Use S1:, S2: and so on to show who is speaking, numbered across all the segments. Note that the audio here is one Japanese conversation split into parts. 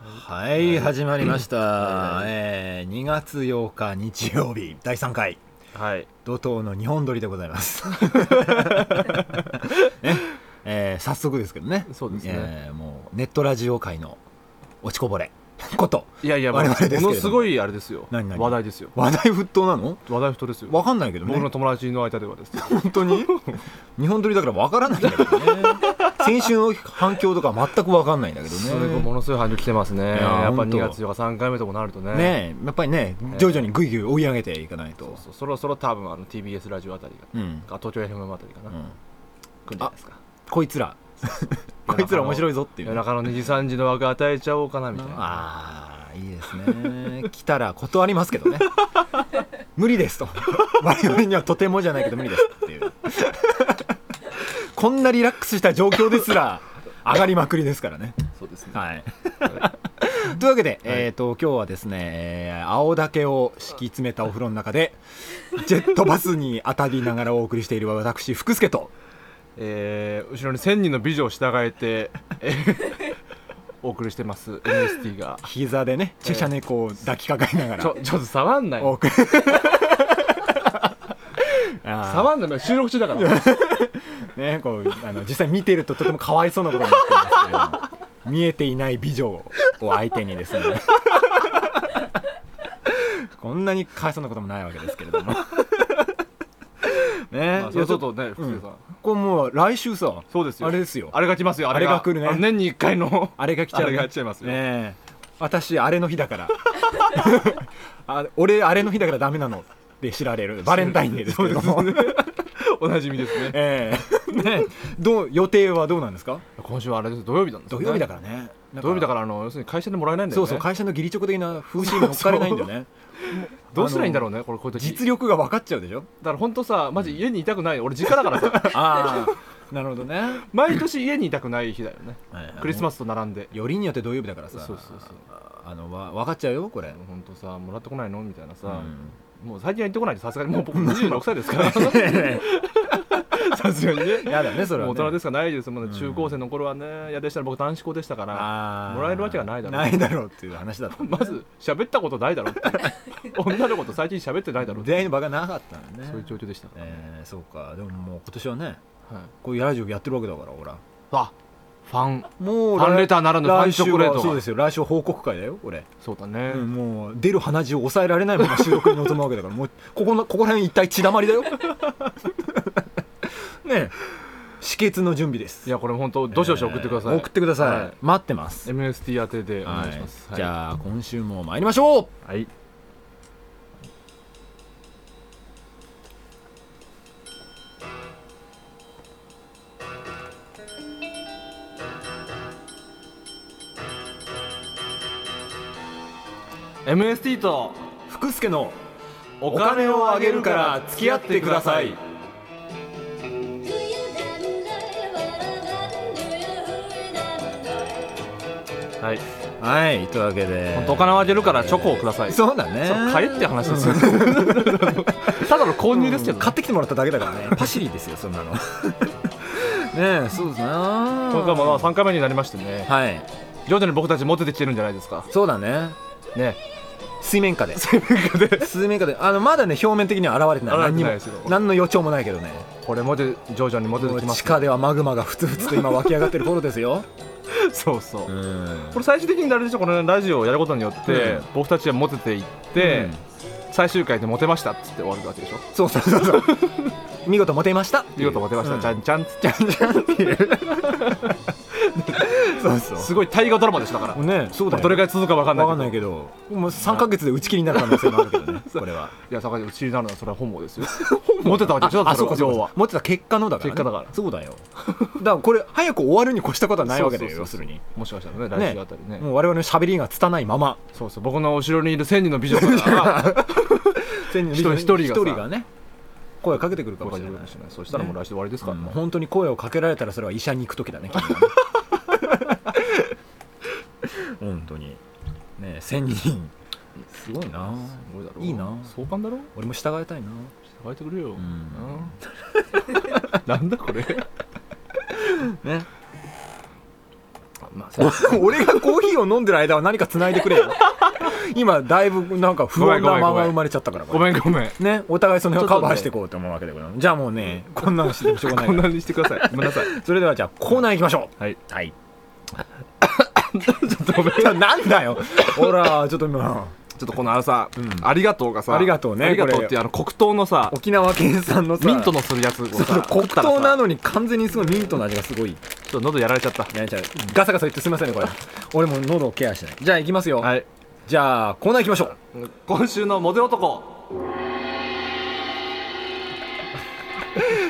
S1: はい、始まりました。えー、2月8日日曜日、第3回、
S2: はい。
S1: 怒涛の日本撮りでござい ます。ねえー早速ですけどね。
S2: そうですね
S1: えーもう、ネットラジオ界の落ちこぼれこと、
S2: いやいや、
S1: 我々ですけれども
S2: ものすごいあれですよ。
S1: 何々
S2: 話題ですよ。
S1: 話題沸騰なの
S2: 話題沸騰ですよ。
S1: わかんないけどね。
S2: 僕の友達の間ではですね。
S1: 本当 に日本撮りだからわからないんだけどね。先週の反響とか全くわかんないんだけどね。
S2: すごいものすごい反響来てますね。
S1: や
S2: やっぱ
S1: 本当
S2: 2月4日3回目ともなるとね。
S1: ねえやっぱりね
S2: え、
S1: 徐々にぐいぐい追い上げていかないと。
S2: そうそろそろ多分あの TBS ラジオあたり
S1: うん。
S2: が、あ東京 FM あたりかな、
S1: うん
S2: 来るんじゃないですか。
S1: こいつら こいつら面白いぞっていう
S2: 夜中の2時3時の枠与えちゃおうかなみたいな。
S1: ああいいですね来たら断りますけど ね無理ですと我々にはとてもじゃないけど無理ですっていうこんなリラックスした状況ですら上がりまくりですからね
S2: そうですね。
S1: はいというわけで、えー、と今日はですね、えー青竹を敷き詰めたお風呂の中でジェットバスに当たりながらお送りしている私福助と
S2: えー後ろに1000人の美女を従えて、えー お送りしてます NST が。
S1: 膝でね注射猫を抱きかかえながら、
S2: ちょ、ちょっと触んない。
S1: 多く あ
S2: 触んない。収録中だから。
S1: ーね、こうあの実際見てるととてもかわいそうなことになってるんですけど見えていない美女を相手にですね こんなにかわいそうなこともないわけですけれどもね、
S2: まあ
S1: いや
S2: それち
S1: ちょ
S2: ょ
S1: っ
S2: っ
S1: と
S2: とね、福
S1: ん
S2: 田さん。
S1: これもう来週さ
S2: そうですよ。
S1: あれですよ
S2: あれが来ますよ。
S1: あれが来るね
S2: あの年に一回の。
S1: あれが来ちゃう、
S2: あれが来ちゃいますよ
S1: ねえ私あれの日だから あ俺あれの日だからダメなのって知られるバレンタインデーですけれども、
S2: おなじみです ね。
S1: ええねどう予定はどうなんですか
S2: 今週はあれです。土曜日なんです
S1: 土
S2: よ
S1: 曜日だからね
S2: 土曜日
S1: ら
S2: だから、あの、要するに会社でもらえないんだよ
S1: そ
S2: ね。
S1: うそう会社の義理直的な風刺に乗っかれないんだよ ね
S2: どうしたらいいんだろうね、これ、こういう時。
S1: 実力が分かっちゃうでしょ
S2: だから本当さ、マジ家にいたくない。俺、実家だからさ、
S1: ああなるほどね
S2: 毎年家にいたくない日だよね。クリスマ
S1: ス
S2: スと並んで。
S1: よりによって土曜日だからさ
S2: そうそうそう
S1: あのわ分かっちゃうよこれ
S2: 本当さ、もらってこないのみたいな
S1: う
S2: さ、
S1: ん
S2: もう最近は行ってこないと、さすがにもう僕26歳ですから、さすがにね。
S1: やだねそれは
S2: もう
S1: ね
S2: 大人ですかないですもん
S1: うん
S2: ね、中高生の頃はね、いやでしたら僕、男子校でしたから、
S1: ああ
S2: もらえるわけがないだろう
S1: ないだろうっていう話だった
S2: まず喋ったことないだろ って女の子と最近喋ってないだろって
S1: 出会いの場がなかったんだね
S2: そういう状況でしたから、ね
S1: ええそうかでももう今年はね
S2: はい、
S1: こういうラジオやってるわけだからほら
S2: あファン
S1: もう
S2: ファンレターならぬファンチョコレート
S1: 来週は
S2: が
S1: そうですよ来週報告会だよ俺
S2: そうだね、
S1: うんもう出る鼻血を抑えられないまま収録に臨むわけだからもうここのここら辺一帯血だまり だよねえ止血の準備です
S2: いやこれ本当どしどし送ってください、
S1: えー送ってください、
S2: はい
S1: 待ってます、
S2: MST 宛てでお願いします、
S1: はいじゃあ今週も参りましょう
S2: あはい「MST と
S1: 福助の
S2: お金をあげるから付き合ってください」
S3: Do you damn know what I'm Do you who I'm not?
S2: はい
S1: はいというわけで
S2: 本当お金をあげるからチョコをください。
S1: そうだね
S2: そう買えって話ですよ。 ただの購入ですけど、
S1: 買ってきてもらっただけだから ねパシリですよそんなのねえそうですね
S2: 今回もまあ3回目になりましてね、
S1: はい
S2: 徐々に僕たちモテてきてるんじゃないですか。
S1: そうだね
S2: ね、
S1: 水面下で水面下で 水面下であのまだね表面的には現れてない
S2: 現れ
S1: 何
S2: て
S1: に
S2: な
S1: も
S2: いですよ
S1: 何の予兆もないけどね
S2: これモテ徐々にモテてきま
S1: 地
S2: す。
S1: 下ではマグマがふつふつと今湧き上がってる頃ですよ
S2: そうそう。
S1: ん
S2: これ最終的にあれでしょこのラジオをやることによって、
S1: うん
S2: 僕たちはモテていって、最終回でモテましたっつって終わるわけでしょ。
S1: そうそうそう そう見事モテました
S2: 見事モテました。じゃ
S1: ん
S2: んじゃんっつって。
S1: じゃんっていう そう そう
S2: すごい大河ドラマでしたから。
S1: ねそうだよ
S2: どれぐらい続くかわかんない
S1: わかんない
S2: けど。い
S1: けどもう3か月で打ち切りになる可能性もあるけど ねこれは
S2: や、坂井うちになるのはそれは本望で すよ。モテたわけでしょ。だ
S1: あ
S2: って
S1: そう
S2: れは
S1: かそう
S2: 要は
S1: か。持ってた結果のだから、ね、
S2: 結果だから
S1: そうだ よだからこれ早く終わるに越したことはないわけだよ
S2: そう
S1: 要
S2: そ
S1: す
S2: うそ
S1: る
S2: う
S1: に
S2: もしかしたらね来週あたりね
S1: もう我々の喋りが拙いまま
S2: そうそう僕の後ろにいる千人の美女 から
S1: 一
S2: 人一人がさ
S1: ね声をかけてくるかも
S2: 僕は
S1: し
S2: い
S1: れな
S2: る
S1: い
S2: かもしれないそしたらもう来週終わりですから
S1: うん
S2: ね
S1: 本当に声をかけられたらそれは医者に行く時だね 君はね本当にね1000人すごいな
S2: すごだろ
S1: いいな
S2: 壮観だろ
S1: 俺も従いたいな
S2: 書いてくれよ
S1: ん
S2: ななんだこれ
S1: ね まあ、 俺がコーヒーを飲んでる間は何か繋いでくれよ今だいぶなんか不穏なまま生まれちゃったからこ
S2: ご
S1: れ
S2: めんごめん
S1: ね、お互いその辺をカバーしていこうと思うわけでございますじゃあもうねこんなのしてもしょうがないか
S2: こん
S1: ら
S2: なにしてくだ さいごめんなさい
S1: それではじゃあコーナー行きましょ
S2: はいう
S1: はい
S2: ちょっとごめんち ょ
S1: なんだよほらちょっと今
S2: っとこのあのさ、
S1: ん
S2: ありがとうがさ
S1: ありがとうね
S2: ありがとうっ
S1: これ
S2: てあの黒糖のさ
S1: 沖縄県産のさ
S2: ミントのするやつをさ
S1: そう黒
S2: 食ったらさ
S1: 糖なのに完全にすごいミントの味がすごい
S2: ちょっと喉やられちゃった
S1: ねじゃあガサガサ言ってすみませんねこれ俺もう喉をケアしてないじゃあ行きますよ、
S2: はい
S1: じゃあコーナー行きましょう
S2: 今週のモデ男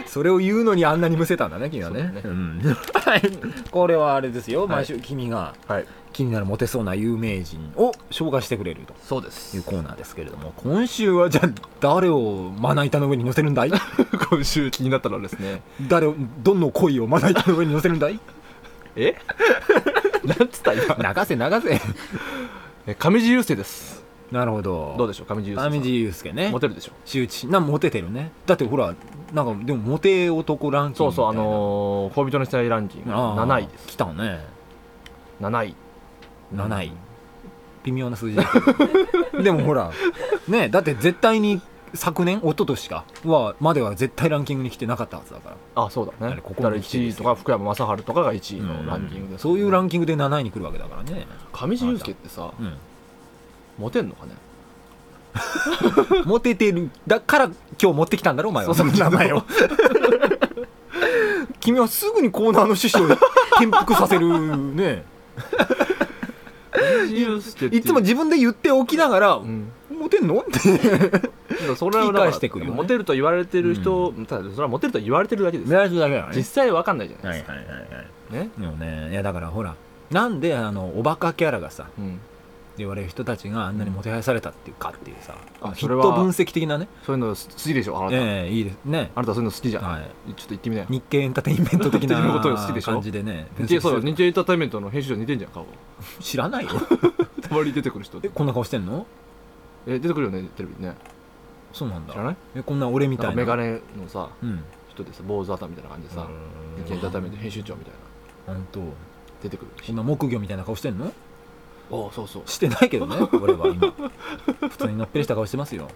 S1: それを言うのにあんなにむせたんだね君はねうん、 はいこれはあれですよ、毎週君が
S2: はい
S1: 気になるモテそうな有名人を紹介してくれると
S2: そうで
S1: い
S2: す
S1: うコーナーですけれども今週はじゃあ誰をまな板の上に乗せるん だい
S2: 今週気になったのはですね
S1: 誰をどの恋をまな板の上に乗せるんだい
S2: え なんつった今
S1: 流せ流せ
S2: え上地雄星です
S1: なるほど
S2: どうでしょう上地雄星さん
S1: 上地雄介ね
S2: モテるでしょ
S1: 周知なんモテてるねだってほらなんかでもモテ男ランキング
S2: そう
S1: みたいな
S2: そうあのー、恋人の死体ランキング
S1: ああ
S2: 7位です
S1: 来たね
S2: 7位
S1: 7位微妙な数字だけ どでもほらねだって絶対に昨年一昨年かはまでは絶対ランキングに来てなかったはずだから
S2: あそうだね
S1: こ
S2: こ
S1: こ
S2: こ
S1: ま
S2: か
S1: で
S2: ら
S1: 来てるんで
S2: 1位
S1: す
S2: と
S1: よ
S2: か福山雅治とかが1位のランキングです、
S1: そういうラ
S2: ン
S1: ンキングで7位に来るわけだからね、
S2: 上地雄介ってさ
S1: うん、
S2: モテんのかね
S1: モテてるだから今日持ってきたんだろお前は
S2: そうそ
S1: 名
S2: う
S1: 前を君はすぐにコーナーの趣旨を転覆させるね
S2: 上地雄介って
S1: いつも
S2: う
S1: 自分で言っておきながら、
S2: ん、
S1: モテんのって
S2: だからそれは
S1: 言
S2: だ
S1: い
S2: か
S1: 返してくる
S2: ら
S1: よね
S2: モテると言われてる人、ただそれはモテると言われてるだけです、
S1: られてるだけだ
S2: 実際わかんないじゃないですか、
S1: はいはいはい
S2: ね、
S1: でもねいやだからほらなんであのおバカキャラがさ
S2: うん、
S1: 言われる人たちがあんなにもてはやされたっていうかっていうさ
S2: あ
S1: ヒ
S2: それ
S1: ッ
S2: は
S1: ト分析的なね
S2: そういうの好きでしょあなた、
S1: ええいいですね
S2: あなたそういうの好きじゃん、
S1: はい
S2: ちょっと言ってみなよ
S1: 日経エンターテインメント的 な
S2: 日経ことを好きでしょ
S1: 感じでね分
S2: 日
S1: 析
S2: 経
S1: す
S2: そうよ
S1: る
S2: 日経エンターテインメントの編集長に似てんじゃん顔
S1: 知らないよ
S2: たまに出てくる人
S1: えこんな顔してんの
S2: え出てくるよねテレビにね
S1: そうなんだ
S2: 知らない
S1: えこんな俺み
S2: な
S1: た
S2: ん
S1: い
S2: か
S1: な
S2: メガネのさ
S1: うん
S2: 人でさ坊主頭みたいな感じでさ日経エンターテインメント編集長みたいな
S1: 本当
S2: 出てくる
S1: こんな木魚みたいな顔してんの
S2: おそうそう
S1: してないけど ね俺は今普通にのっぺりした顔してますよ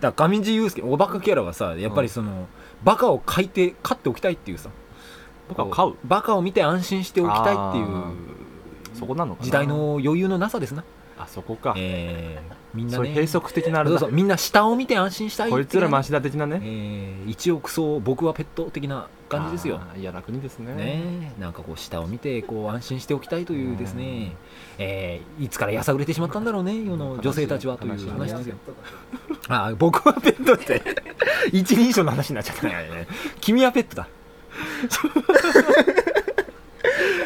S1: だから上地雄介おバカキャラはさやっぱりその、バカを書いて飼っておきたいっていうさ
S2: 僕は買う
S1: バカを見て安心しておきたいっていう
S2: あそこなのかな
S1: 時代の余裕のなさですな、
S2: あそこか
S1: えー、みんな
S2: そうい
S1: ね
S2: う閉塞的なあれ
S1: そう
S2: だ
S1: そうみんな下を見て安心したい
S2: こいつら
S1: マ
S2: マシだ的な
S1: え
S2: ね
S1: ー、一億層僕はペット的な感じですよ
S2: あーいや楽にですね
S1: ねえなんかこう下を見てこう安心しておきたいというです
S2: う
S1: ね
S2: ん、
S1: えーいつからやさぐれてしまったんだろうね世の女性たちはという話ですよ
S2: 悲
S1: あー僕はペットって一人称の話になっちゃったね君はペット だ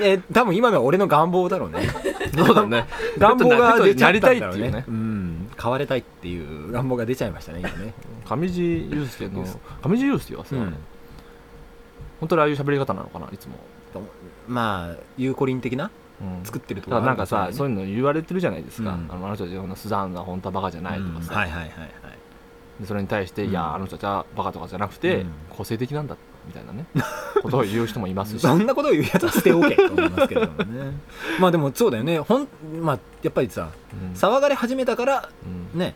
S1: えー多分今のは俺の願望だろうね
S2: そうだね
S1: 願望が出ちゃったんだ
S2: ペットになりたい
S1: ろ
S2: っ
S1: う
S2: てい
S1: ね
S2: うね
S1: うん買われたいっていう願望が出ちゃいましたね今ね
S2: 上地雄介の上地雄介はさ
S1: うん
S2: 本当にああいう喋り方なのかないつも
S1: まあ有効林的な
S2: うん
S1: 作ってると
S2: だからなんかさそう
S1: いう
S2: いうの言われてるじゃないですか、
S1: うん
S2: あのあの人たちのスザンナ本当はバカじゃないとかさ、
S1: はいはいはいはい
S2: でそれに対して、
S1: うん
S2: いやあの人たちはバカとかじゃなくて、
S1: うん
S2: 個性的なんだみたいなねことを言う人もいます し
S1: そんなことを言うやつは捨ておけと思いますけれども ねまあでもそうだよねほんまあやっぱりさ
S2: うん
S1: 騒がれ始めたから
S2: うん
S1: ね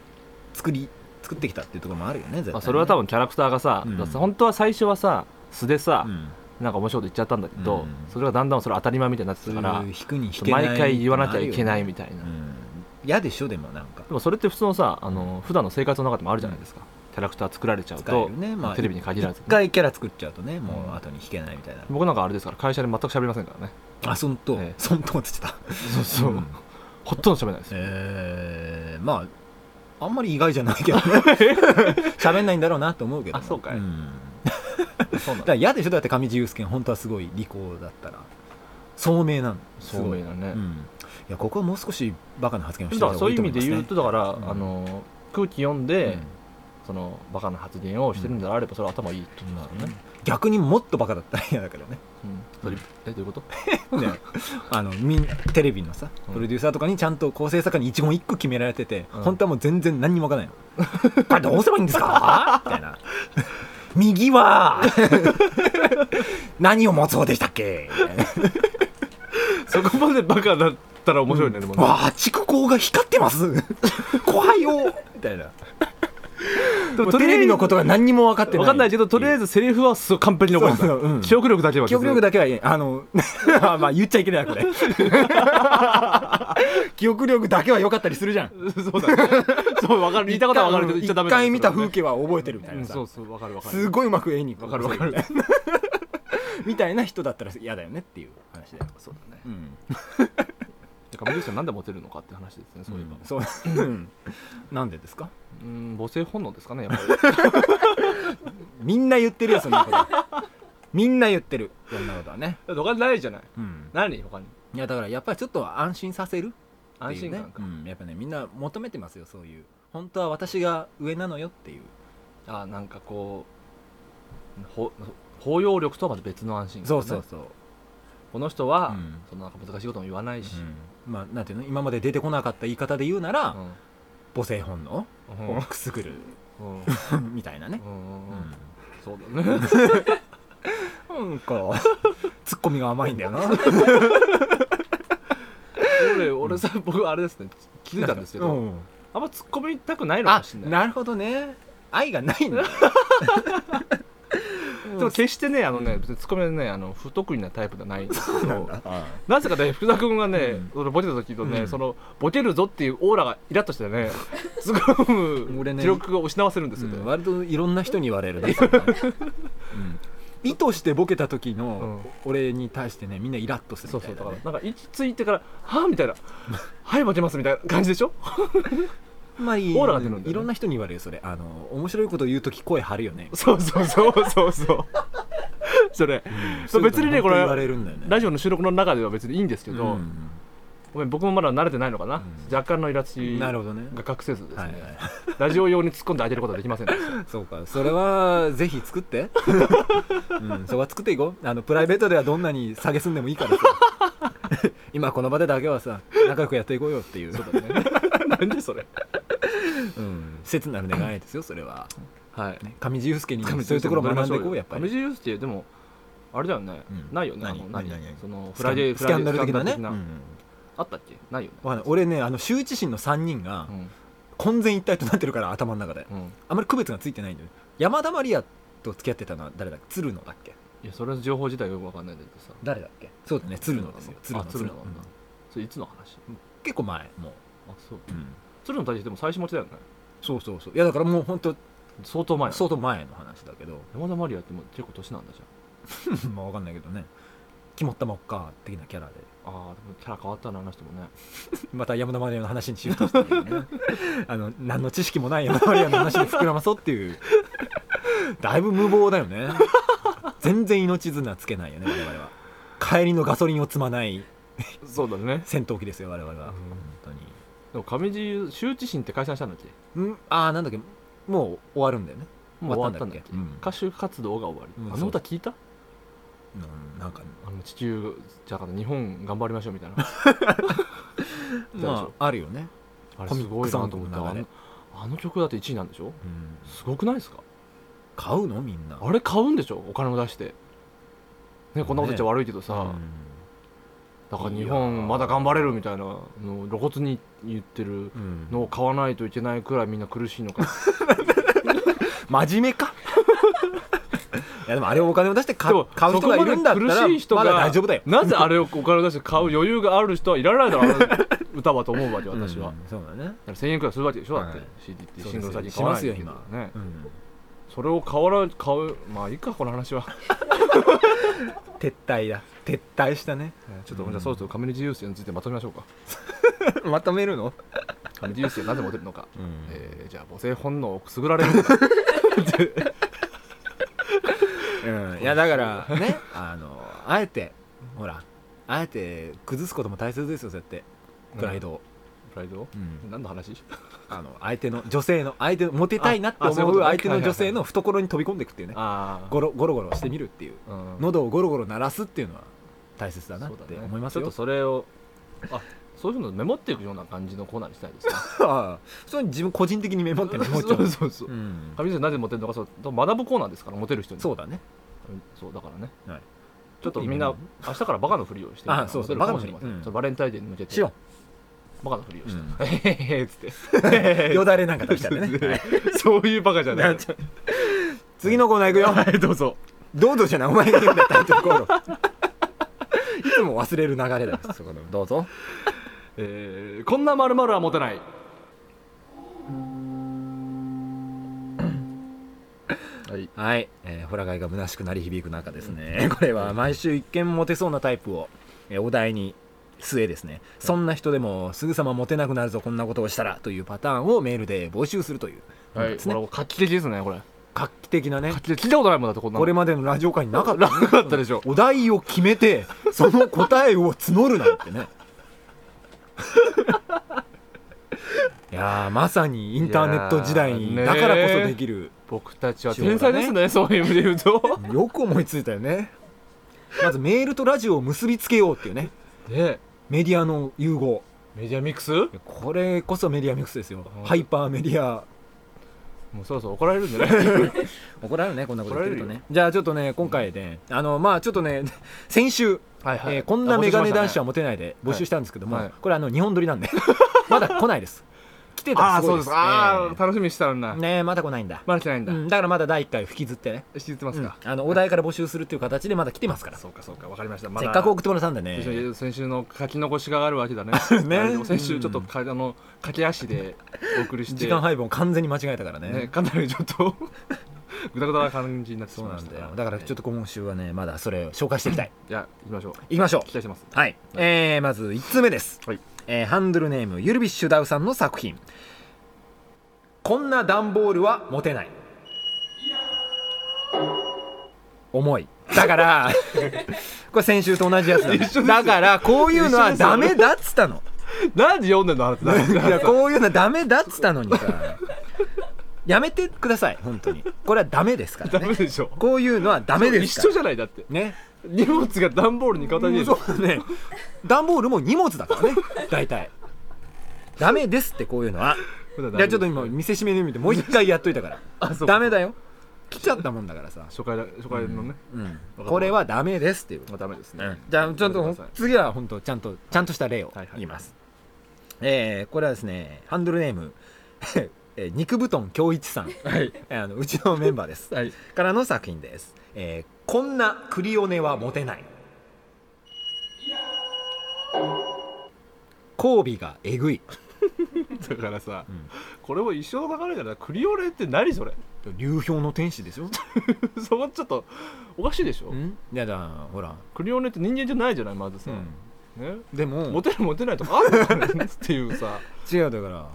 S1: 作り作ってきたっていうところもあるよね絶対ね
S2: まあ、それは多分キャラクターがさ、
S1: うん
S2: 本当は最初はさ素でさ、
S1: うん
S2: なんか面白いこと言っちゃったんだけど、
S1: うん
S2: それがだんだんそれ当たり前みたいになっ
S1: そ
S2: て
S1: う
S2: た
S1: い
S2: から
S1: う引くに引けない
S2: 毎回言わなきゃいけないみたい
S1: た
S2: な、
S1: うん嫌でしょでもなんか
S2: でもそれって普通のさあの普段の生活の中でもあるじゃないですか、キャラクター作られちゃう
S1: 使え
S2: と
S1: る、ねまあ
S2: テレビに限らず
S1: 一回キャラ作っちゃうとねもう後に引けないみたいな
S2: 僕なんかあれですから会社で全く喋りませんからね
S1: あそんと
S2: ええ
S1: そんと落ちてた
S2: そうそう、
S1: うん
S2: ほとんど喋らないですよ
S1: えーまああんまり意外じゃない けどね喋んないんだろうなと思うけど
S2: あそうかい
S1: ん
S2: そうな
S1: だから嫌でしょだって上地雄介本当はすごい利口だったら聡明なのす
S2: そう
S1: ごい
S2: だね、
S1: うん、いやここはもう少しバカな発言をして
S2: だからそういう意味で言うとだから、
S1: うん
S2: あの空気読んで、そのバカな発言をしてるんであればそれは頭いいってことだよね、
S1: 逆にもっとバカだったら嫌だけど ね
S2: うんそれえどういうこと
S1: ねあのみんテレビのさプロデューサーとかにちゃんと構成作家に一言一句決められてて、
S2: うん
S1: 本当はもう全然何にも分からないの これどうすればいいんですかみたい な右 は何を持つ方でしたっけみたいな
S2: そこまでバカだったら面白いね、でもね
S1: わあ蓄光が光ってます 怖いよみたいな
S2: で
S1: も
S2: も
S1: うテレビのことが何にも分かってない
S2: わかんないけどとりあえずセリフはすごい完璧に覚えて
S1: そうそううん
S2: た記憶力だけは
S1: 記憶力だけはいいあの あまあ言っちゃいけないなこれ記憶力だけは良かったりするじゃん
S2: け そうだねそうわか る言いたことはわかるけど言っちゃダメ
S1: 一
S2: なんです
S1: 回見た
S2: それ
S1: 風
S2: はね
S1: 景は覚えてるみたい
S2: うん
S1: なさ、
S2: そうそうわかるわかる
S1: すごいうまく絵にわ
S2: わかるわかる
S1: みたいな人だったら嫌だよねっていう話だよ、
S2: そうだね
S1: うん、
S2: だから森口さんなんでモテるのかって話ですねそういえば
S1: そううんなんでですか
S2: うん母性本能ですかねやっ ぱり
S1: みんな言ってるよそんなこと みんな言ってるそんなことはね、
S2: 他にないじゃない
S1: うん、
S2: 何他に
S1: いやだからやっぱりちょっと安心させるって
S2: 安
S1: いう
S2: 心
S1: ね
S2: 感か
S1: うん、やっぱねみんな求めてますよそういう本当は私が上なのよっていう
S2: あなんかこうほ包容力とはまた別の安心感ね
S1: そうそうそう、
S2: この人
S1: う
S2: は
S1: ん
S2: そんななんか難しいことも言わないし
S1: うんまあなんていうの今まで出てこなかった言い方で言うなら、
S2: うん
S1: 母性本能
S2: うん
S1: をくすぐる
S2: うん
S1: みたいなね、
S2: うん
S1: う
S2: そうだね
S1: ん、なんかツッコミが甘いん だよな
S2: 俺俺さ僕あれですね気づいたんですけど、
S1: うん
S2: あんま突っ込みたくないのか
S1: あ
S2: もしれない
S1: なるほどね愛がないんだ
S2: でも決してねあのね別に突っ込みはねあの不得意なタイプではないんですけど
S1: あ
S2: なぜかね福田君がね、
S1: うん
S2: そのボケた時のね、
S1: うん
S2: そのボケるぞっていうオーラがイラッとしてね すご
S1: 俺
S2: い
S1: ね
S2: 記録を失わせるんですよね、
S1: うん割といろんな人に言われるねそれはうん意図してボケた時の俺に対してねみんなイラッとする
S2: そ
S1: み
S2: う
S1: たい
S2: そ
S1: な
S2: う
S1: ね
S2: だからなんか位置ついてから「はあ」みたいな「はい負けます」みたいな感じでし ょ
S1: まあいい
S2: オーラが出るんだよね
S1: いろんな人に言われるそれあの面白いこと言う時声張るよね
S2: そうそうそうそうそうそれ、そう別にねこ
S1: そういうの本当言わ
S2: れ
S1: れるんだよね
S2: ラジオの収録の中では別にいいんですけど、
S1: うん
S2: ごめん僕もまだ慣れてないのかな、
S1: うん
S2: 若干のイラつき
S1: な
S2: が
S1: るほどね
S2: 隠せずですね、
S1: はいはい
S2: ラジオ用に突っ込んであげることはできませんでした
S1: そうかそれはぜひ作ってう んそこは作っていこうあのプライベートではどんなに下げすんでもいいからさ 今この場でだけはさ仲良くやっていこうよっていう
S2: そうだねなんでそれ
S1: うん切なる願いですよそれは、
S2: はい
S1: ね、上地雄介にもそういうところも学んでいこうやっぱ
S2: 上
S1: り
S2: 地雄介でもあれだよね、
S1: うん
S2: ないよね
S1: 何
S2: あの何
S1: 何何
S2: その
S1: ス
S2: フ
S1: キャ
S2: ラ
S1: ン
S2: イデー
S1: スキャンダル的なね、
S2: フライデースキャンダル的な
S1: うん
S2: あったっけないよね
S1: わかんない俺ねあの周知心の3人が
S2: うん
S1: 混然一体となってるから頭の中で
S2: うん
S1: あまり区別がついてないんだよね山田マリアと付き合ってたのは誰だっけ鶴野だっけ
S2: いやそれは情報自体がよくわかんないんだけどさ
S1: 誰だっけそうだね鶴野ですよ
S2: 鶴野あ鶴野
S1: う
S2: なんんだそれいつの話
S1: 結構前もう、
S2: あそう鶴野大してでも最初持ちだよね
S1: そうそうそういやだからもう本当
S2: 相当前なの
S1: 相当前の話だけど
S2: 山田マリアってもう結構年なんだじ
S1: まあ分かんないけどね肝ったまっか的なキャラで
S2: ゃんああでもキャラ変わったなあの人もね
S1: また山田マリアの話にしようとしてるよ ねあの何の知識もない山田マリアの話で膨らまそうっていうだいぶ無謀だよ ね全然命綱つけないよね我々は帰りのガソリンを積まない
S2: そうだね
S1: 戦闘機ですよ我々は、
S2: うん
S1: 本当に
S2: でも上地羞恥心って解散したんだっけ
S1: うんああなんだっけもう終わるんだよね
S2: もう終わったんだっけ
S1: うん
S2: 歌手活動が終わり、
S1: うん
S2: あの歌聞いた
S1: うんなんか
S2: あの地球じゃあ日本頑張りましょうみたいな
S1: まああるよね、
S2: あれすごいなと思った
S1: コミ
S2: あ
S1: ッ
S2: の
S1: ク
S2: あの曲だって1位なんでしょすごくないですか
S1: 買うのみんな
S2: あれ買うんでしょお金を出してねこんなこと言っちゃ悪いけどさ、だから日本まだ頑張れるみたいなのを露骨に言ってる
S1: うんうん
S2: のを買わないといけないくらいみんな苦しいのか
S1: 真面目か いやでもあれをお金を出して買
S2: で
S1: う
S2: も
S1: 買う人がいるんだった
S2: そこまで
S1: ら
S2: 苦しい人が
S1: まだ大丈夫だよ
S2: なぜあれをお金を出して買う余裕がある人はいらないだろうあの歌はと思うわけ私は、
S1: う
S2: だ
S1: んそうだね
S2: から1000円くらいするわけでしょだって、
S1: はい
S2: CD って
S1: そうですよ
S2: シングル先に買わないといけ
S1: し
S2: ない
S1: ます
S2: ね
S1: うん
S2: それを買わない買うまあいいかこの話は
S1: 撤退だ撤退した ね
S2: ちょっとじゃあそろそろ上地雄介についてまとめましょうか
S1: まとめるの
S2: 上地雄介なぜモテる のか、
S1: うん
S2: えーじゃあ母性本能をくすぐられるのか
S1: うんいやだからね あのあえてほらあえて崩すことも大切ですよそうやってプライドを、
S2: プライド、
S1: うん
S2: 何の 話
S1: あの相手の女性の相手のモテたいなって
S2: ああそういう
S1: 思
S2: こ
S1: う
S2: とね
S1: 相手の女性の懐に飛び込んでいくっていうね
S2: あ
S1: ゴロゴロゴロしてみるっていう
S2: うん
S1: 喉をゴロゴロ鳴らすっていうのは大切だなっ
S2: そうだ
S1: て
S2: ね
S1: 思います
S2: ちょ
S1: よ
S2: っとそれをあそういうのメモっていくような感じのコーナーにしたい ですね
S1: ああそれ自分個人的にメモって メモっちゃう
S2: そうそうそう
S1: うん
S2: 上地さんなぜモテるのかそう学ぶコーナーですからモテる人に
S1: そうだね
S2: うんそうだからね、
S1: はい
S2: ちょっとみんな明日からバカのふりをしてみる
S1: あそうそう
S2: バカのふりません
S1: バカのふりうん
S2: ちょっとバレンタインデーに向けて
S1: しよ
S2: バカのふりをして、
S1: うん
S2: へへへへっつって
S1: うよだれなんか出したら ね
S2: そういうバカじゃない
S1: 次のコーナー行くよ
S2: はいどうぞ
S1: どうぞじゃないお前が言うんだったらところ いつも忘れる流れだそこのどうぞ
S2: えーこんなまるまるは持てない。はい。
S1: はい、えー、ホラガイが虚しくなり響く中ですね これは毎週一見モテそうなタイプを、えーお題に据えですねそんな人でもすぐさまモテなくなるぞこんなことをしたらというパターンをメールで募集するという
S2: は
S1: で
S2: い。
S1: すね
S2: これ画期的ですね、これ。
S1: 画期的なね
S2: 画期的聞いたことないもんだって、こんなの。
S1: これまでのラジオ界になかった
S2: なかったでしょ。
S1: お題を決めてその答えを募るなんてねいやーまさにインターネット時代
S2: いやー
S1: に
S2: ねー
S1: だからこそできる、
S2: 僕たちは
S1: そうだね
S2: 天才ですね、そういう意味で言うと。
S1: よく思いついたよねまずメールとラジオを結びつけようっていうね
S2: ね
S1: メディアの融合
S2: メディアミックスも
S1: これこそメディアミックスですよ
S2: うん
S1: ハイパーメディア
S2: うそろそろ怒られるんじゃない
S1: 怒られるねこんなこと言ってると
S2: 怒られ
S1: ねじゃあちょっとね今回ねあのまあちょっとね 先週
S2: はいはい
S1: えーこんなメガネ男子は
S2: あ
S1: モテないで募集したんですけども、
S2: はい
S1: これあの日本撮りなん でまだ来ないです来てたら
S2: あ
S1: す
S2: ー、
S1: ごい
S2: そ
S1: うで
S2: ですす。ああ、楽しみにしてたのに
S1: え
S2: な
S1: ー。ねえまだ来ないんだ、
S2: まだ来てないんだ
S1: う。ん、だからまだ第1回吹きずってね、
S2: 知ってますか
S1: うんあのお題から募集するっていう形でまだ来てますから、
S2: そうか、そうか、わかりました。ま
S1: せ
S2: だ
S1: っかく送ってもらったんでね
S2: 先週の書き残しがあるわけだね
S1: ね
S2: 先週ちょっとか、あの駆け足でお送りして
S1: 時間配分を完全に間違えたからね
S2: ね、かなりちょっと ぐだぐだな感じになってし
S1: そう
S2: まい
S1: な
S2: まし
S1: ん
S2: た
S1: だよだからちょっと今週はねまだそれを紹介していきたい
S2: じゃあ行きましょう
S1: いきましょう
S2: 期待してます
S1: はい、えーまず1通目です、
S2: はい
S1: えーハンドルネームゆるびっしゅダウさんの作品「こんな段ボールは持てない」重いだから これ先週と同じやつなんだだからこういうのはダメだっつったの
S2: 何時読んでんのあなた
S1: いやこういうのはダメだっつったのにさやめてください本当にこれはダメですから
S2: ダ
S1: ね
S2: メでしょ
S1: こういうのはダメですか
S2: 一緒
S1: ら
S2: じゃないだって
S1: ね
S2: 荷物が段ボールに形に
S1: そうね段ボールも荷物だからね大体ダメですってこういうのは
S2: 普段
S1: いやちょっと今見せしめに見てもう一回やっといたか
S2: あそ
S1: らダ
S2: う
S1: メだよ来ちゃったもんだからさ、
S2: 初回だ初回のね、
S1: うん、これはダメですっていう
S2: まあダメですね、
S1: うんじゃあちょっ
S2: ごめん
S1: と
S2: なさい
S1: 次は本当ちゃんとちゃんとした例を
S2: はいはい
S1: 言います、えーこれはですねハンドルネーム えー肉布団京一さん
S2: はい
S1: えーあのうちのメンバーです
S2: はい
S1: からの作品です、えーこんなクリオネはモテない交尾がえぐい
S2: だからさ、
S1: うん
S2: これも一生の流れだからクリオネって何それ
S1: 流氷の天使でしょ、
S2: そこちょっとおかしいでしょ、
S1: うん、いやだほら、
S2: クリオネって人間じゃないじゃないまずさ、ね
S1: でも
S2: モテるモテないとかあるのかねっていう さ
S1: 違うだか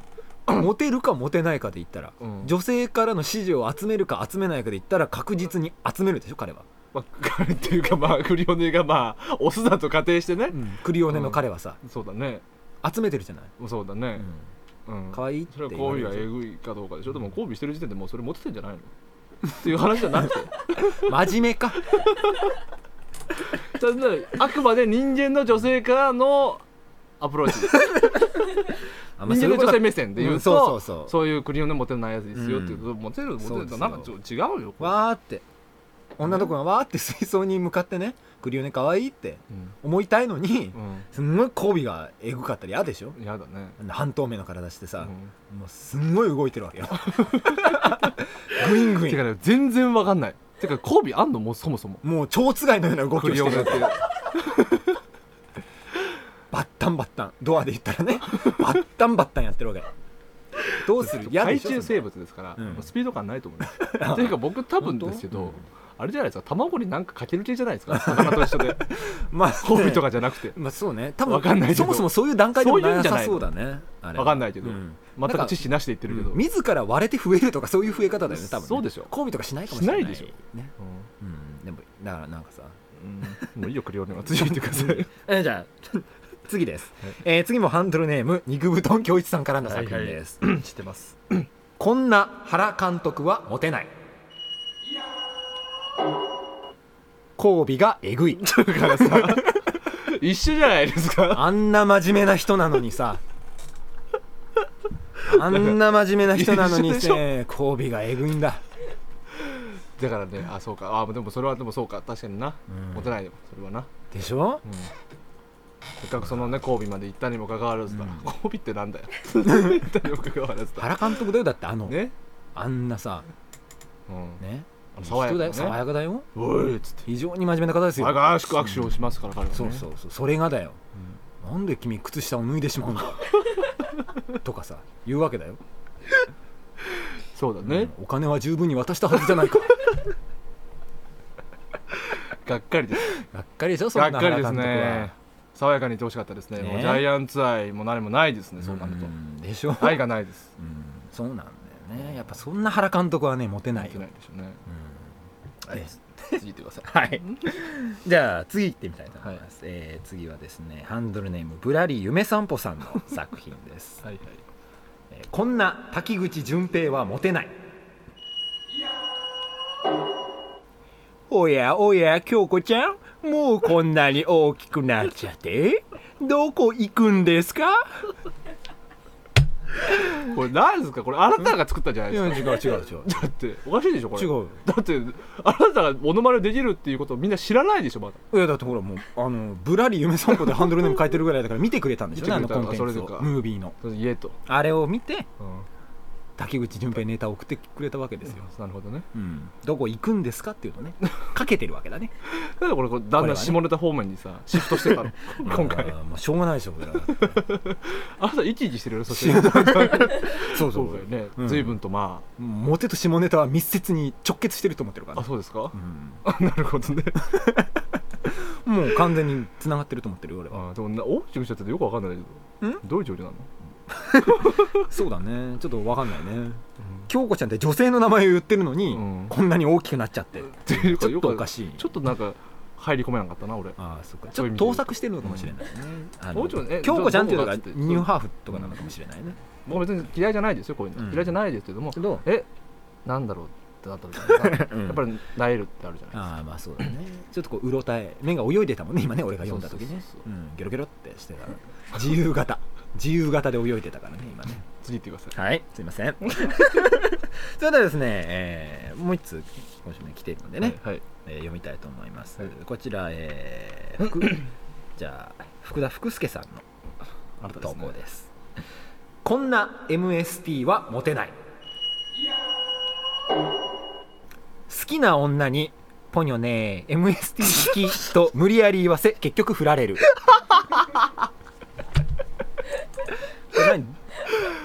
S1: ら モテるかモテないかで言ったら、
S2: うん
S1: 女性からの支持を集めるか集めないかで言ったら確実に集めるでしょ彼は、
S2: まあ、彼っていうかまあクリオネがまあオスだと仮定してね、
S1: クリオネの彼はさ、
S2: そうだね
S1: 集めてるじゃない、
S2: そうだね、うん
S1: 可愛いって
S2: それは
S1: 言われ
S2: 交
S1: る
S2: 尾がえぐいかどうかでしょでも交尾してる時点でもうそれモテてんじゃないのっていう話じゃなく て
S1: 真面目 か
S2: ただあくまで人間の女性からのアプローチ
S1: あんま
S2: 人
S1: そういう
S2: 間の
S1: こと
S2: 女性目線で言うと、
S1: んそうそうそう
S2: いうクリオネモテないやつですよっていうこと、モテるモテ
S1: そう
S2: る
S1: です
S2: と
S1: よ
S2: なんかちょっと違うよこれ
S1: わーって女の子がわーって水槽に向かってねクリオネ可愛いって
S2: うん
S1: 思いたいのに
S2: うん
S1: すんごい交尾がえぐかったり嫌でしょ
S2: 嫌、だね、
S1: 半透明の体してさ、
S2: う
S1: もうすんごい動いてるわけ よグイング
S2: ん、
S1: イ
S2: てか
S1: ン
S2: ね全然わかんないてか交尾あんのもうそもそも
S1: もう蝶つがいのような動き
S2: ク
S1: を
S2: リ
S1: し
S2: オ
S1: て
S2: ネ
S1: る
S2: って
S1: バッタンバッタンドアで言ったらねバッタンバッタンやってるわけどう する嫌で
S2: 海
S1: しょ
S2: 中生物ですから、
S1: うん
S2: スピード感ない と思いますというか僕多分ですけど、
S1: 本
S2: あれじゃないですか卵になんかかける系じゃないですか魚と一緒で
S1: ま あ、
S2: 交尾と
S1: か
S2: かじゃなくて
S1: まあそうね多
S2: わかんないけ
S1: 分そも
S2: ど
S1: そもそういう段階でも
S2: そういうん
S1: な
S2: じゃ
S1: さ
S2: ない
S1: そうだねあれは
S2: わかんないけど、
S1: うん
S2: 全
S1: なんか
S2: く知識なしで言ってるけど、うん
S1: 自ら割れて増えるとかそういう増え方だよね多分ね
S2: そうでしょ
S1: 交尾とかしないかもしれない
S2: しないでし
S1: ねうんでもだからなんか さ
S2: うんもういいよクリオネは続いてください
S1: えじゃあ 次です
S2: はい、
S1: えー次もハンドルネーム肉布団京一さんからの作品です、
S2: 知ってます
S1: こんな原監督はモテない交尾がえ ぐい
S2: だからさ一緒じゃないですか
S1: あんな真面目な人なのにさあんな真面目な人なのに
S2: 一緒でし
S1: ね交尾がえぐいんだ
S2: だからねあそうかあでもそれはでもそうか確かにな、
S1: うん
S2: 持てないよそれはな、
S1: でしょ
S2: うんせっかくそのね神戸まで行ったにもかかわらずだ、
S1: うん
S2: 神戸って なんだよ 行ったにもかかわらずだ
S1: 原監督だよだってあの、
S2: ね、
S1: あんなさ
S2: うん、
S1: ね
S2: あの爽や
S1: 人
S2: か
S1: だ
S2: な
S1: よ爽
S2: ね
S1: やかだよ
S2: おいっつって
S1: 非常に真面目な方ですよ
S2: 早く握手をしますから彼はね
S1: そうそうそうそれがだよ、なんで君靴下を脱いでしまうんだ とかさ言うわけだよ、
S2: そうだ
S1: う
S2: ね
S1: ん、お金は十分に渡したはずじゃない か
S2: がっかりです
S1: がっかりでしょそん
S2: が
S1: な
S2: っかりです
S1: 原監督は
S2: ね爽やかにいってほしかったですね
S1: ね
S2: もうジャイアンツ愛も何もないですねそうなると
S1: んでしょ、
S2: 愛がないです
S1: うん、そうなんだよねやっぱそんな原監督はねモテない
S2: いけ
S1: よ
S2: ないでしょうね
S1: うん
S2: はい
S1: え
S2: 次行ってください
S1: はい じゃあ次行ってみたいと思います、えー次はですねハンドルネームぶらり夢散歩さんの作品です、
S2: はいはい
S1: えーこんな滝口純平はモテないおやおや京子ちゃんもうこんなに大きくなっちゃってどこ行くんですか
S2: これ何ですかこれあなたが作ったんじゃない
S1: い
S2: です
S1: や
S2: か
S1: 違う 違う違う
S2: だっておかしいでしょこれ
S1: 違う
S2: だってあなたがモノマネできるっていうことをみんな知らないでしょまだ
S1: いやだってほらもうあのぶらり夢散歩でハンドルネーム変えてるぐらいだから見てくれたんでしょうねあ
S2: 見
S1: の
S2: てく
S1: コ
S2: れ
S1: ンテ
S2: た
S1: ンツ
S2: それで
S1: を
S2: か
S1: ムービーの
S2: それ言えと、
S1: あれを見て
S2: うん
S1: 滝口純平ネタを送ってくれたわけですよ、
S2: なるほどね
S1: うん、どこ行くんですかっていうのね かけてるわけだね
S2: だからこれこうだんだん下ネタ方面にさシフトしてたの 今回
S1: あーまあしょうがないでしょ これは
S2: あなた生き生きしてるよ そして
S1: しょうがそうそ
S2: 今
S1: う
S2: 回ね
S1: うん
S2: 随分とま
S1: モテと下ネタは密接に直結してると思ってるか
S2: ああ
S1: ら、
S2: そうですか
S1: うん、
S2: なるほどね
S1: もう完全に繋がってると思ってるよ俺は
S2: あでもな大きくしちゃっててよくわかんないけ
S1: ん
S2: どどういう状況なの
S1: そうだねちょっと分かんないね京子ちゃんって女性の名前を言ってるのに、
S2: うん
S1: こんなに大きくなっちゃって
S2: ていう
S1: ち
S2: か
S1: ょっ
S2: よ
S1: と
S2: く
S1: おかしい
S2: ちょっとなんか入り込めなかったな俺
S1: ああそっかち
S2: そう
S1: ょっ
S2: いう意
S1: と
S2: 味で言
S1: 盗
S2: う
S1: 作してるのかもしれないねあの
S2: もちろんえ
S1: 京子ちゃんっていうの
S2: ど
S1: が
S2: う
S1: ニ
S2: どうだっつって
S1: ューハーフとかなのかもしれないね
S2: 僕別に嫌いじゃないですよこういう
S1: うん
S2: の嫌いじゃないですけども
S1: けど、
S2: えなんだろうってなった時にさ
S1: うん
S2: やっぱりなえるってあるじゃない
S1: ああまあそうだねちょっとこううろたえ目が泳いでたもんね今ね俺が読んだ時ね
S2: そうそう
S1: う
S2: そ
S1: んゲロゲロってしてた自由形自由形で泳いでたからね今ね
S2: 次行ってください
S1: はいすいませ んそれではですね、えーもう一通今週も来ているのでね、
S2: はいはい
S1: えー読みたいと思います、
S2: はい
S1: こちら、えー福じゃあ福田福助さんの
S2: あなたで
S1: 投
S2: すね
S1: 稿ですこんな MST はモテない好きな女に「ポニョね MST 好き」と無理やり言わせ 結局振られる これ何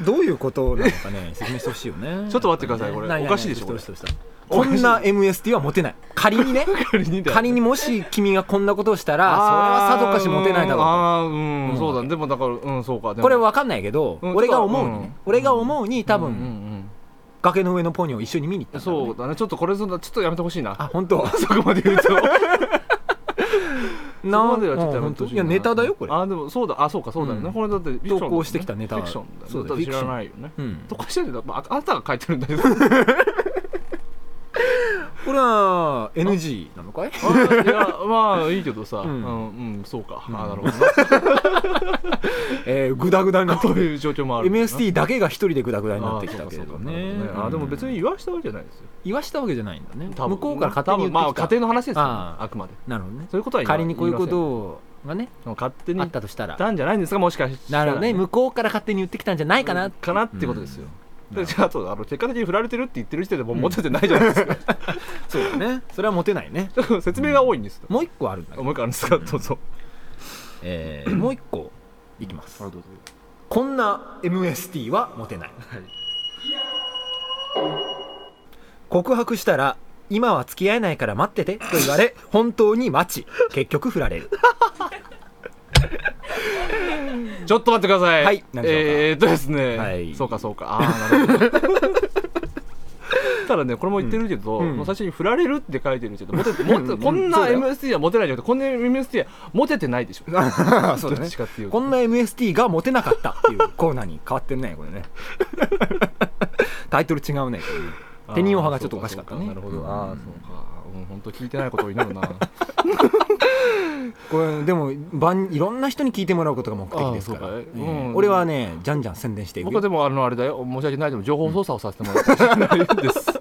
S1: どういうことなのかね説明してほしいよね
S2: ちょっと待ってくださいこれ
S1: 何何何
S2: おかしいでしょ
S1: どうし
S2: こ
S1: たどうしたこんな MST はモテない仮に ね
S2: 仮にだよ
S1: 仮にもし君がこんなことをしたらそれはさぞかしモテないだろうと
S2: あーうんあー
S1: う
S2: うんんそうだねでもだからうんそうかでも
S1: これ分かんないけど、
S2: うん
S1: 俺が思うにね、
S2: うん
S1: 俺が思うに多
S2: うんう
S1: 分、
S2: ん
S1: 崖の上のポニョを一緒に見に行っ
S2: う
S1: た
S2: ん
S1: んだろうね、
S2: そうだねちょっとこれそんなちょっとやめてほしいな
S1: あ本当
S2: そこまで言うとそこ
S1: な
S2: まではちょっとやめてほしい
S1: いやネタだよこれ
S2: あでもそうだあそうかそうだよね、
S1: うん
S2: これだってフィクションだもんね
S1: 投稿してきたネタ
S2: フィクションだよね
S1: そうだよ
S2: だって知らないよね
S1: うん、
S2: 投稿してるんだよまああなたが書いてるんだけ ど
S1: これは NG なのかい
S2: あーいやまあいいけどさ、
S1: う
S2: うんんうん、そうか、
S1: うん
S2: あなるほど な
S1: えー、グダグダになって
S2: こう
S1: る
S2: いう状況もあるな
S1: MST だけが一人でグダグダ
S2: あー
S1: になってきたけれ
S2: そ
S1: ど
S2: うかそうかなる
S1: ね
S2: ほどあーでも別に言わしたわけじゃないですよ
S1: 言わしたわけじゃないんだね
S2: 多分
S1: 向こうから勝手に言ってきた、
S2: 多分まあ家庭の話ですよ
S1: あ
S2: あ
S1: ー
S2: くまで
S1: なるほどね
S2: そういうことは言わ
S1: 仮にこういうことがね
S2: 言いません勝手に
S1: あ
S2: 言
S1: っ
S2: った
S1: としたら
S2: たんじゃないんですかもしかし
S1: な
S2: たら
S1: るほどね向こうから勝手に言ってきたんじゃないかな、
S2: かなってことですよ、
S1: うん
S2: でじゃああとあの結果的に振られてるって言ってる時点でもうモテてないじゃな いですか、
S1: そうだねそれはモテないね
S2: 説明が多いんですよ、
S1: もう一個あるんだけど
S2: もう一回あるんですかどうぞ
S1: えーもう一個いきます、
S2: あどうぞ
S1: こんな MST はモテない、告白したら今は付き合えないから待っててと言われ本当に待ち結局振られる
S2: ちょっと待ってください
S1: はい何でしょうか
S2: えーっとですね、
S1: はい
S2: そうかそうかああなるほど ただねこれも言ってるけど、
S1: うんうん
S2: もう最初に振られるって書いてるけどモテてモテこんな
S1: そうだよ
S2: MST はモテないじゃなくてこんな MST はモテてないでし
S1: そ
S2: ょ
S1: うだね
S2: どっちかっていうと
S1: こんな MST がモテなかったっていうコーナーに変わってるねこれねタイトル違うねこれね
S2: あー
S1: テニオ派がちょっとおかしかったね
S2: そうなるほど、
S1: うん
S2: ああそうかうん本当聞いてないことを祈るな
S1: これでも万いろんな人に聞いてもらうことが目的ですから、
S2: あーそうか
S1: え
S2: い
S1: え
S2: うん
S1: 俺はねじゃんじゃん宣伝していく
S2: 僕
S1: よ
S2: は でもあのあれだよ申し訳ないでも情報操作をさせてもらってないです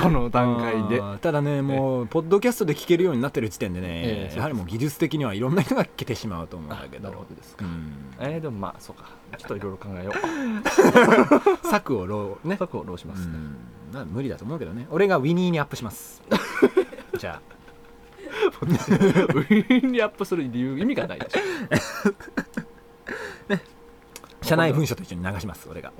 S2: このの段階で
S1: あーただねもうポッドキャストで聞けるようになってる時点で
S2: え
S1: ね、
S2: え
S1: やはりもう技術的にはいろんな人が聞けてしまうと思うんだけ
S2: な
S1: ど
S2: るほどです
S1: う
S2: か、
S1: ん
S2: えー、でもまあそうかちょっといろいろ考えよう
S1: 策をろうね
S2: 策をどうします、
S1: うんまあ無理だと思うけどね俺がウィニーにアップしますじゃあ
S2: ウィンにアップする理由意味がないでしょ
S1: 社内文書と一緒に流します俺が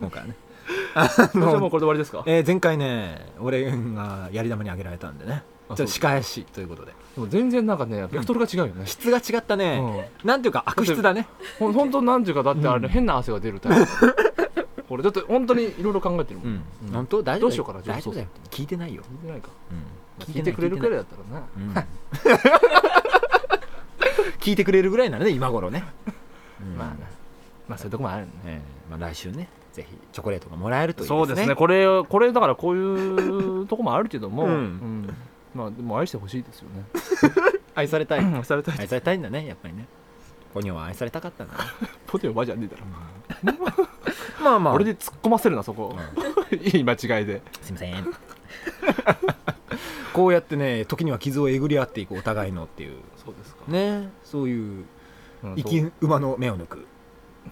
S1: 今回はね
S2: じゃあもうこれで終わり ですか
S1: えー前回ね俺がやり玉にあげられたんでねちょ
S2: あ
S1: っと
S2: そう
S1: 仕返しということで
S2: でも全然なんかねベクトルが違うよね、
S1: 質が違った
S2: う
S1: ね、
S2: ん
S1: なんていうか悪質だね
S2: ほん、本当なんていうかだってあれ、
S1: うん
S2: 変な汗が出るタイプこれだって本当にいろいろ考えてるもん、
S1: うん
S2: うん
S1: 本当大丈夫
S2: どうしようかな
S1: 大丈夫だよ
S2: 上
S1: 聞いてないよ、
S2: 聞いてないか
S1: うん
S2: 聞いてくれるくらい
S1: い
S2: だった
S1: 聞いて
S2: らな
S1: ない、うん 聞いてくれるぐらいならね今頃ね、うん
S2: まあなまあそういうとこもあるね
S1: えーまあ来週ねぜひチョコレートがもらえるといいですね
S2: そうですねこれをこれだからこういうとこもあるけども、
S1: うん
S2: うんまあでも愛してほしいですよね
S1: 愛されたい
S2: 愛されたい
S1: 愛されたいんだねやっぱりねポニョは愛されたかったんだね
S2: ポテオバじゃねえだろ、
S1: まあまあ
S2: 俺で突っ込ませるなそこ、いい間違いです
S1: いません こうやってね時には傷をえぐり合っていくお互いのっていう
S2: そうですか
S1: ねそういう
S2: うん
S1: 生き馬の目を抜く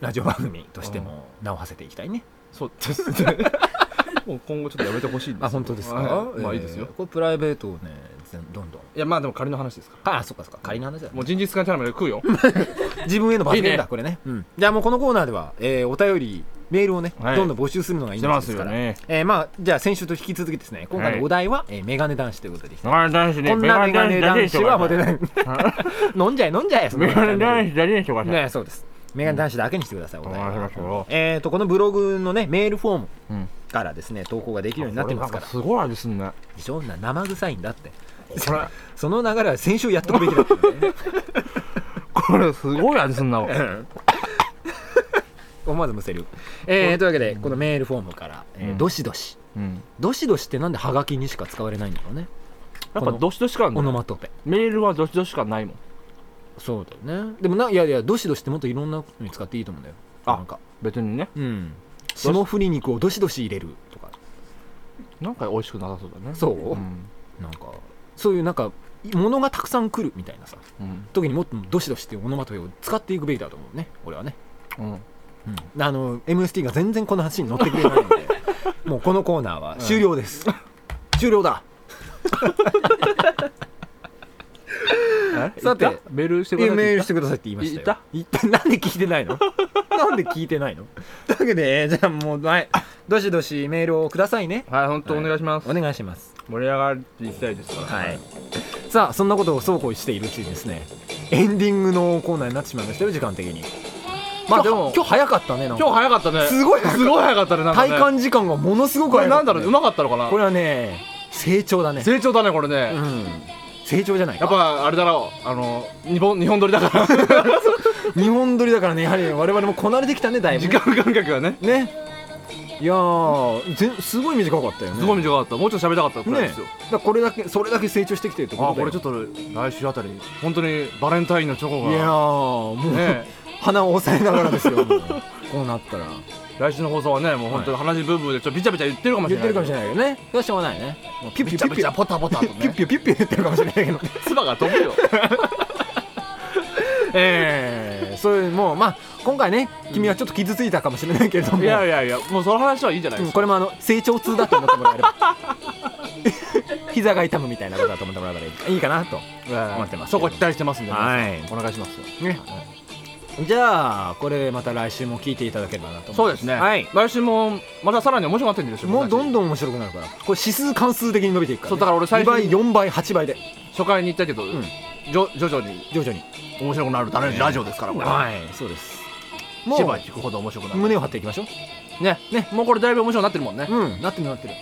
S1: ラジオ番組としても名を馳せていきたいね
S2: そうそうですね もう今後ちょっとやめてほしいですはいまあいいですよ、
S1: これプライベートをね全どんどん
S2: いやまあでも仮の話ですか
S1: ああそっかそっか仮の話だ
S2: らもうジンギスカンチャンネル食うよ
S1: 自分への罰
S2: い
S1: ゲ
S2: い
S1: ー
S2: ね
S1: だこれねうんじゃあもうこのコーナーではえーお便りメールをね
S2: はい
S1: どんどん募集するのがいいん
S2: して
S1: で
S2: ます
S1: す
S2: よ
S1: から
S2: ね
S1: えーまあじゃあ先週と引き続きですね今回のお題はえーメガネ男子ということでいきたい
S2: メガネ男子ね
S1: こんなメガネ男子はモテ
S2: い
S1: ない。 飲んじゃえ飲んじゃえ。
S2: メガネ男子だけにしてください
S1: ねそうです。メガネ男子だけにしてください。お題
S2: お願いします
S1: は
S2: よ
S1: えっとこのブログのねメールフォーム
S2: うん
S1: からですね投稿ができるようになってますから
S2: こ。れなんすごいあれですね
S1: 非常に生臭いんだって。
S2: これ
S1: その流れは先週やっとくべきだったよね。
S2: これすごい味すんな
S1: 思わずむせる。えーというわけでこのメールフォームからえー
S2: うん
S1: どしどし
S2: うん
S1: どしどしってなんでハガキにしか使われないんだろうね。
S2: やっぱどしどし感
S1: オノマトペ。
S2: メールはどしどし感ないもん
S1: そうだよね。でもないやいやどしどしってもっといろんなことに使っていいと思うんだよ。
S2: あ
S1: なんか。
S2: 別にね
S1: うん、霜降り肉をどしどし入れるとか
S2: なんか美味しくなさそうだね
S1: そう
S2: うん
S1: なんかそういうなんか物がたくさん来るみたいなさ
S2: うん
S1: 時にもっとどしどしっていうオノマトペを使っていくべきだと思うね俺はね、
S2: うん
S1: うん、あの MST が全然この話に乗ってくれない のでもうこのコーナーは終了です、終了ださ
S2: さ
S1: て
S2: てメールしてく
S1: い
S2: だ
S1: や
S2: さい
S1: メールしてくださいって言いましたよ言ったなんで聞いてない のなんで聞いてないのというわけで、えーじゃあもうはいどしどしメールをくださいね
S2: はい本当お願いします
S1: お願いします
S2: 盛り上がっていきたいですから
S1: はい、さあそんなことをそうこうしているうちにですねエンディングのコーナーになってしまいましたよ時間的に
S2: まあでも
S1: 今日早かったねなんか
S2: 今日早かったね
S1: すごい早かった
S2: すごい早かったねなんかね
S1: 体感時間がものすごく
S2: これ
S1: 早か
S2: な
S1: っ
S2: ん
S1: た、
S2: だろう
S1: ね、
S2: うまかったのかな
S1: これはね成長だね、
S2: 成長だねこれね
S1: うん、成長じゃない
S2: やっぱあれだろうあの日本日本撮りだ から
S1: 日本撮りだからねやはり我々もこなれてきたねだいぶ
S2: 時間感覚がね
S1: ねいやーぜすごい短かったよね
S2: すごい短かったもうちょっと喋りたかったくらい
S1: ね
S2: ですよ、
S1: だからこれだけそれだけ成長してきてるって
S2: あ
S1: こ
S2: こと
S1: だよ
S2: れちょっと来週あたり本当にバレンタインのチョコが
S1: いやーもう、
S2: ね
S1: 鼻を押さえながらですよもうこうなったら
S2: 来週の放送はねもう本当に話ブーブーでちょっとビチャビチャ言ってるかもし
S1: 言
S2: れ
S1: っ
S2: ない
S1: てるかもしれないけどねどうしようもないね
S2: もうピュッピュッピュッピュッポタポタ
S1: ピ
S2: と
S1: ュッ
S2: ね
S1: ピュピュッピュ言ってるかもしれないけど
S2: 唾が飛ぶよ
S1: ええそういうもうまあ今回ね君はちょっと傷ついたかもしれないけれども、
S2: いやいやいやもうその話はいいじゃないで
S1: うん
S2: す
S1: こ
S2: か、
S1: れもあの成長痛だと思ってもらえれば膝が痛むみたいなことだと思ってもらえればいいかなと思ってます
S2: そこ期待してますんで、
S1: はい
S2: お願いしますよ
S1: ねじゃあこれまた来週も聞いていただければなと思います
S2: そうですね、
S1: はい
S2: 来週もまたさらに面白くなってるんですよ
S1: もうどん
S2: ん
S1: どん面白くなるからこれ指数関数的に伸びていくから、ね、
S2: そうだから俺最初に
S1: 2倍4倍8倍で
S2: 初回に言ったけど、
S1: ん
S2: じょ徐々に
S1: 徐々に
S2: 面白くなるためのラジオですからこれ、
S1: はいそうですも
S2: 千葉
S1: う
S2: 聞くほど面白くなる
S1: 胸を張っていきましょう
S2: ねねもうこれだいぶ面白くなってるもんね、
S1: うんなってるなってる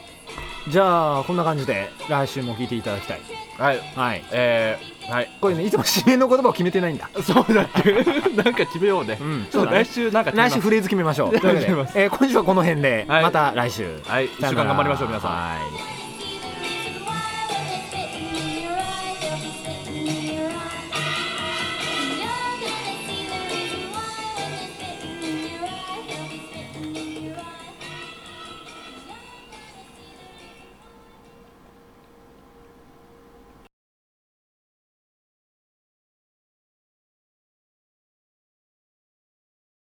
S1: じゃあこんな感じで来週も聞いていただきたい
S2: はい
S1: はい
S2: えー、はい
S1: これねいつも指名の言葉を決めてないんだ
S2: そうだっけ なんか決めようね、
S1: うん
S2: ちょっと来週なんか決めま
S1: 来
S2: す
S1: 週フレーズ決めましょう
S2: りがとうござい
S1: というわけでえー今週はこの辺で、
S2: はい
S1: また来週
S2: はい一週間頑張りましょう皆さん
S1: ん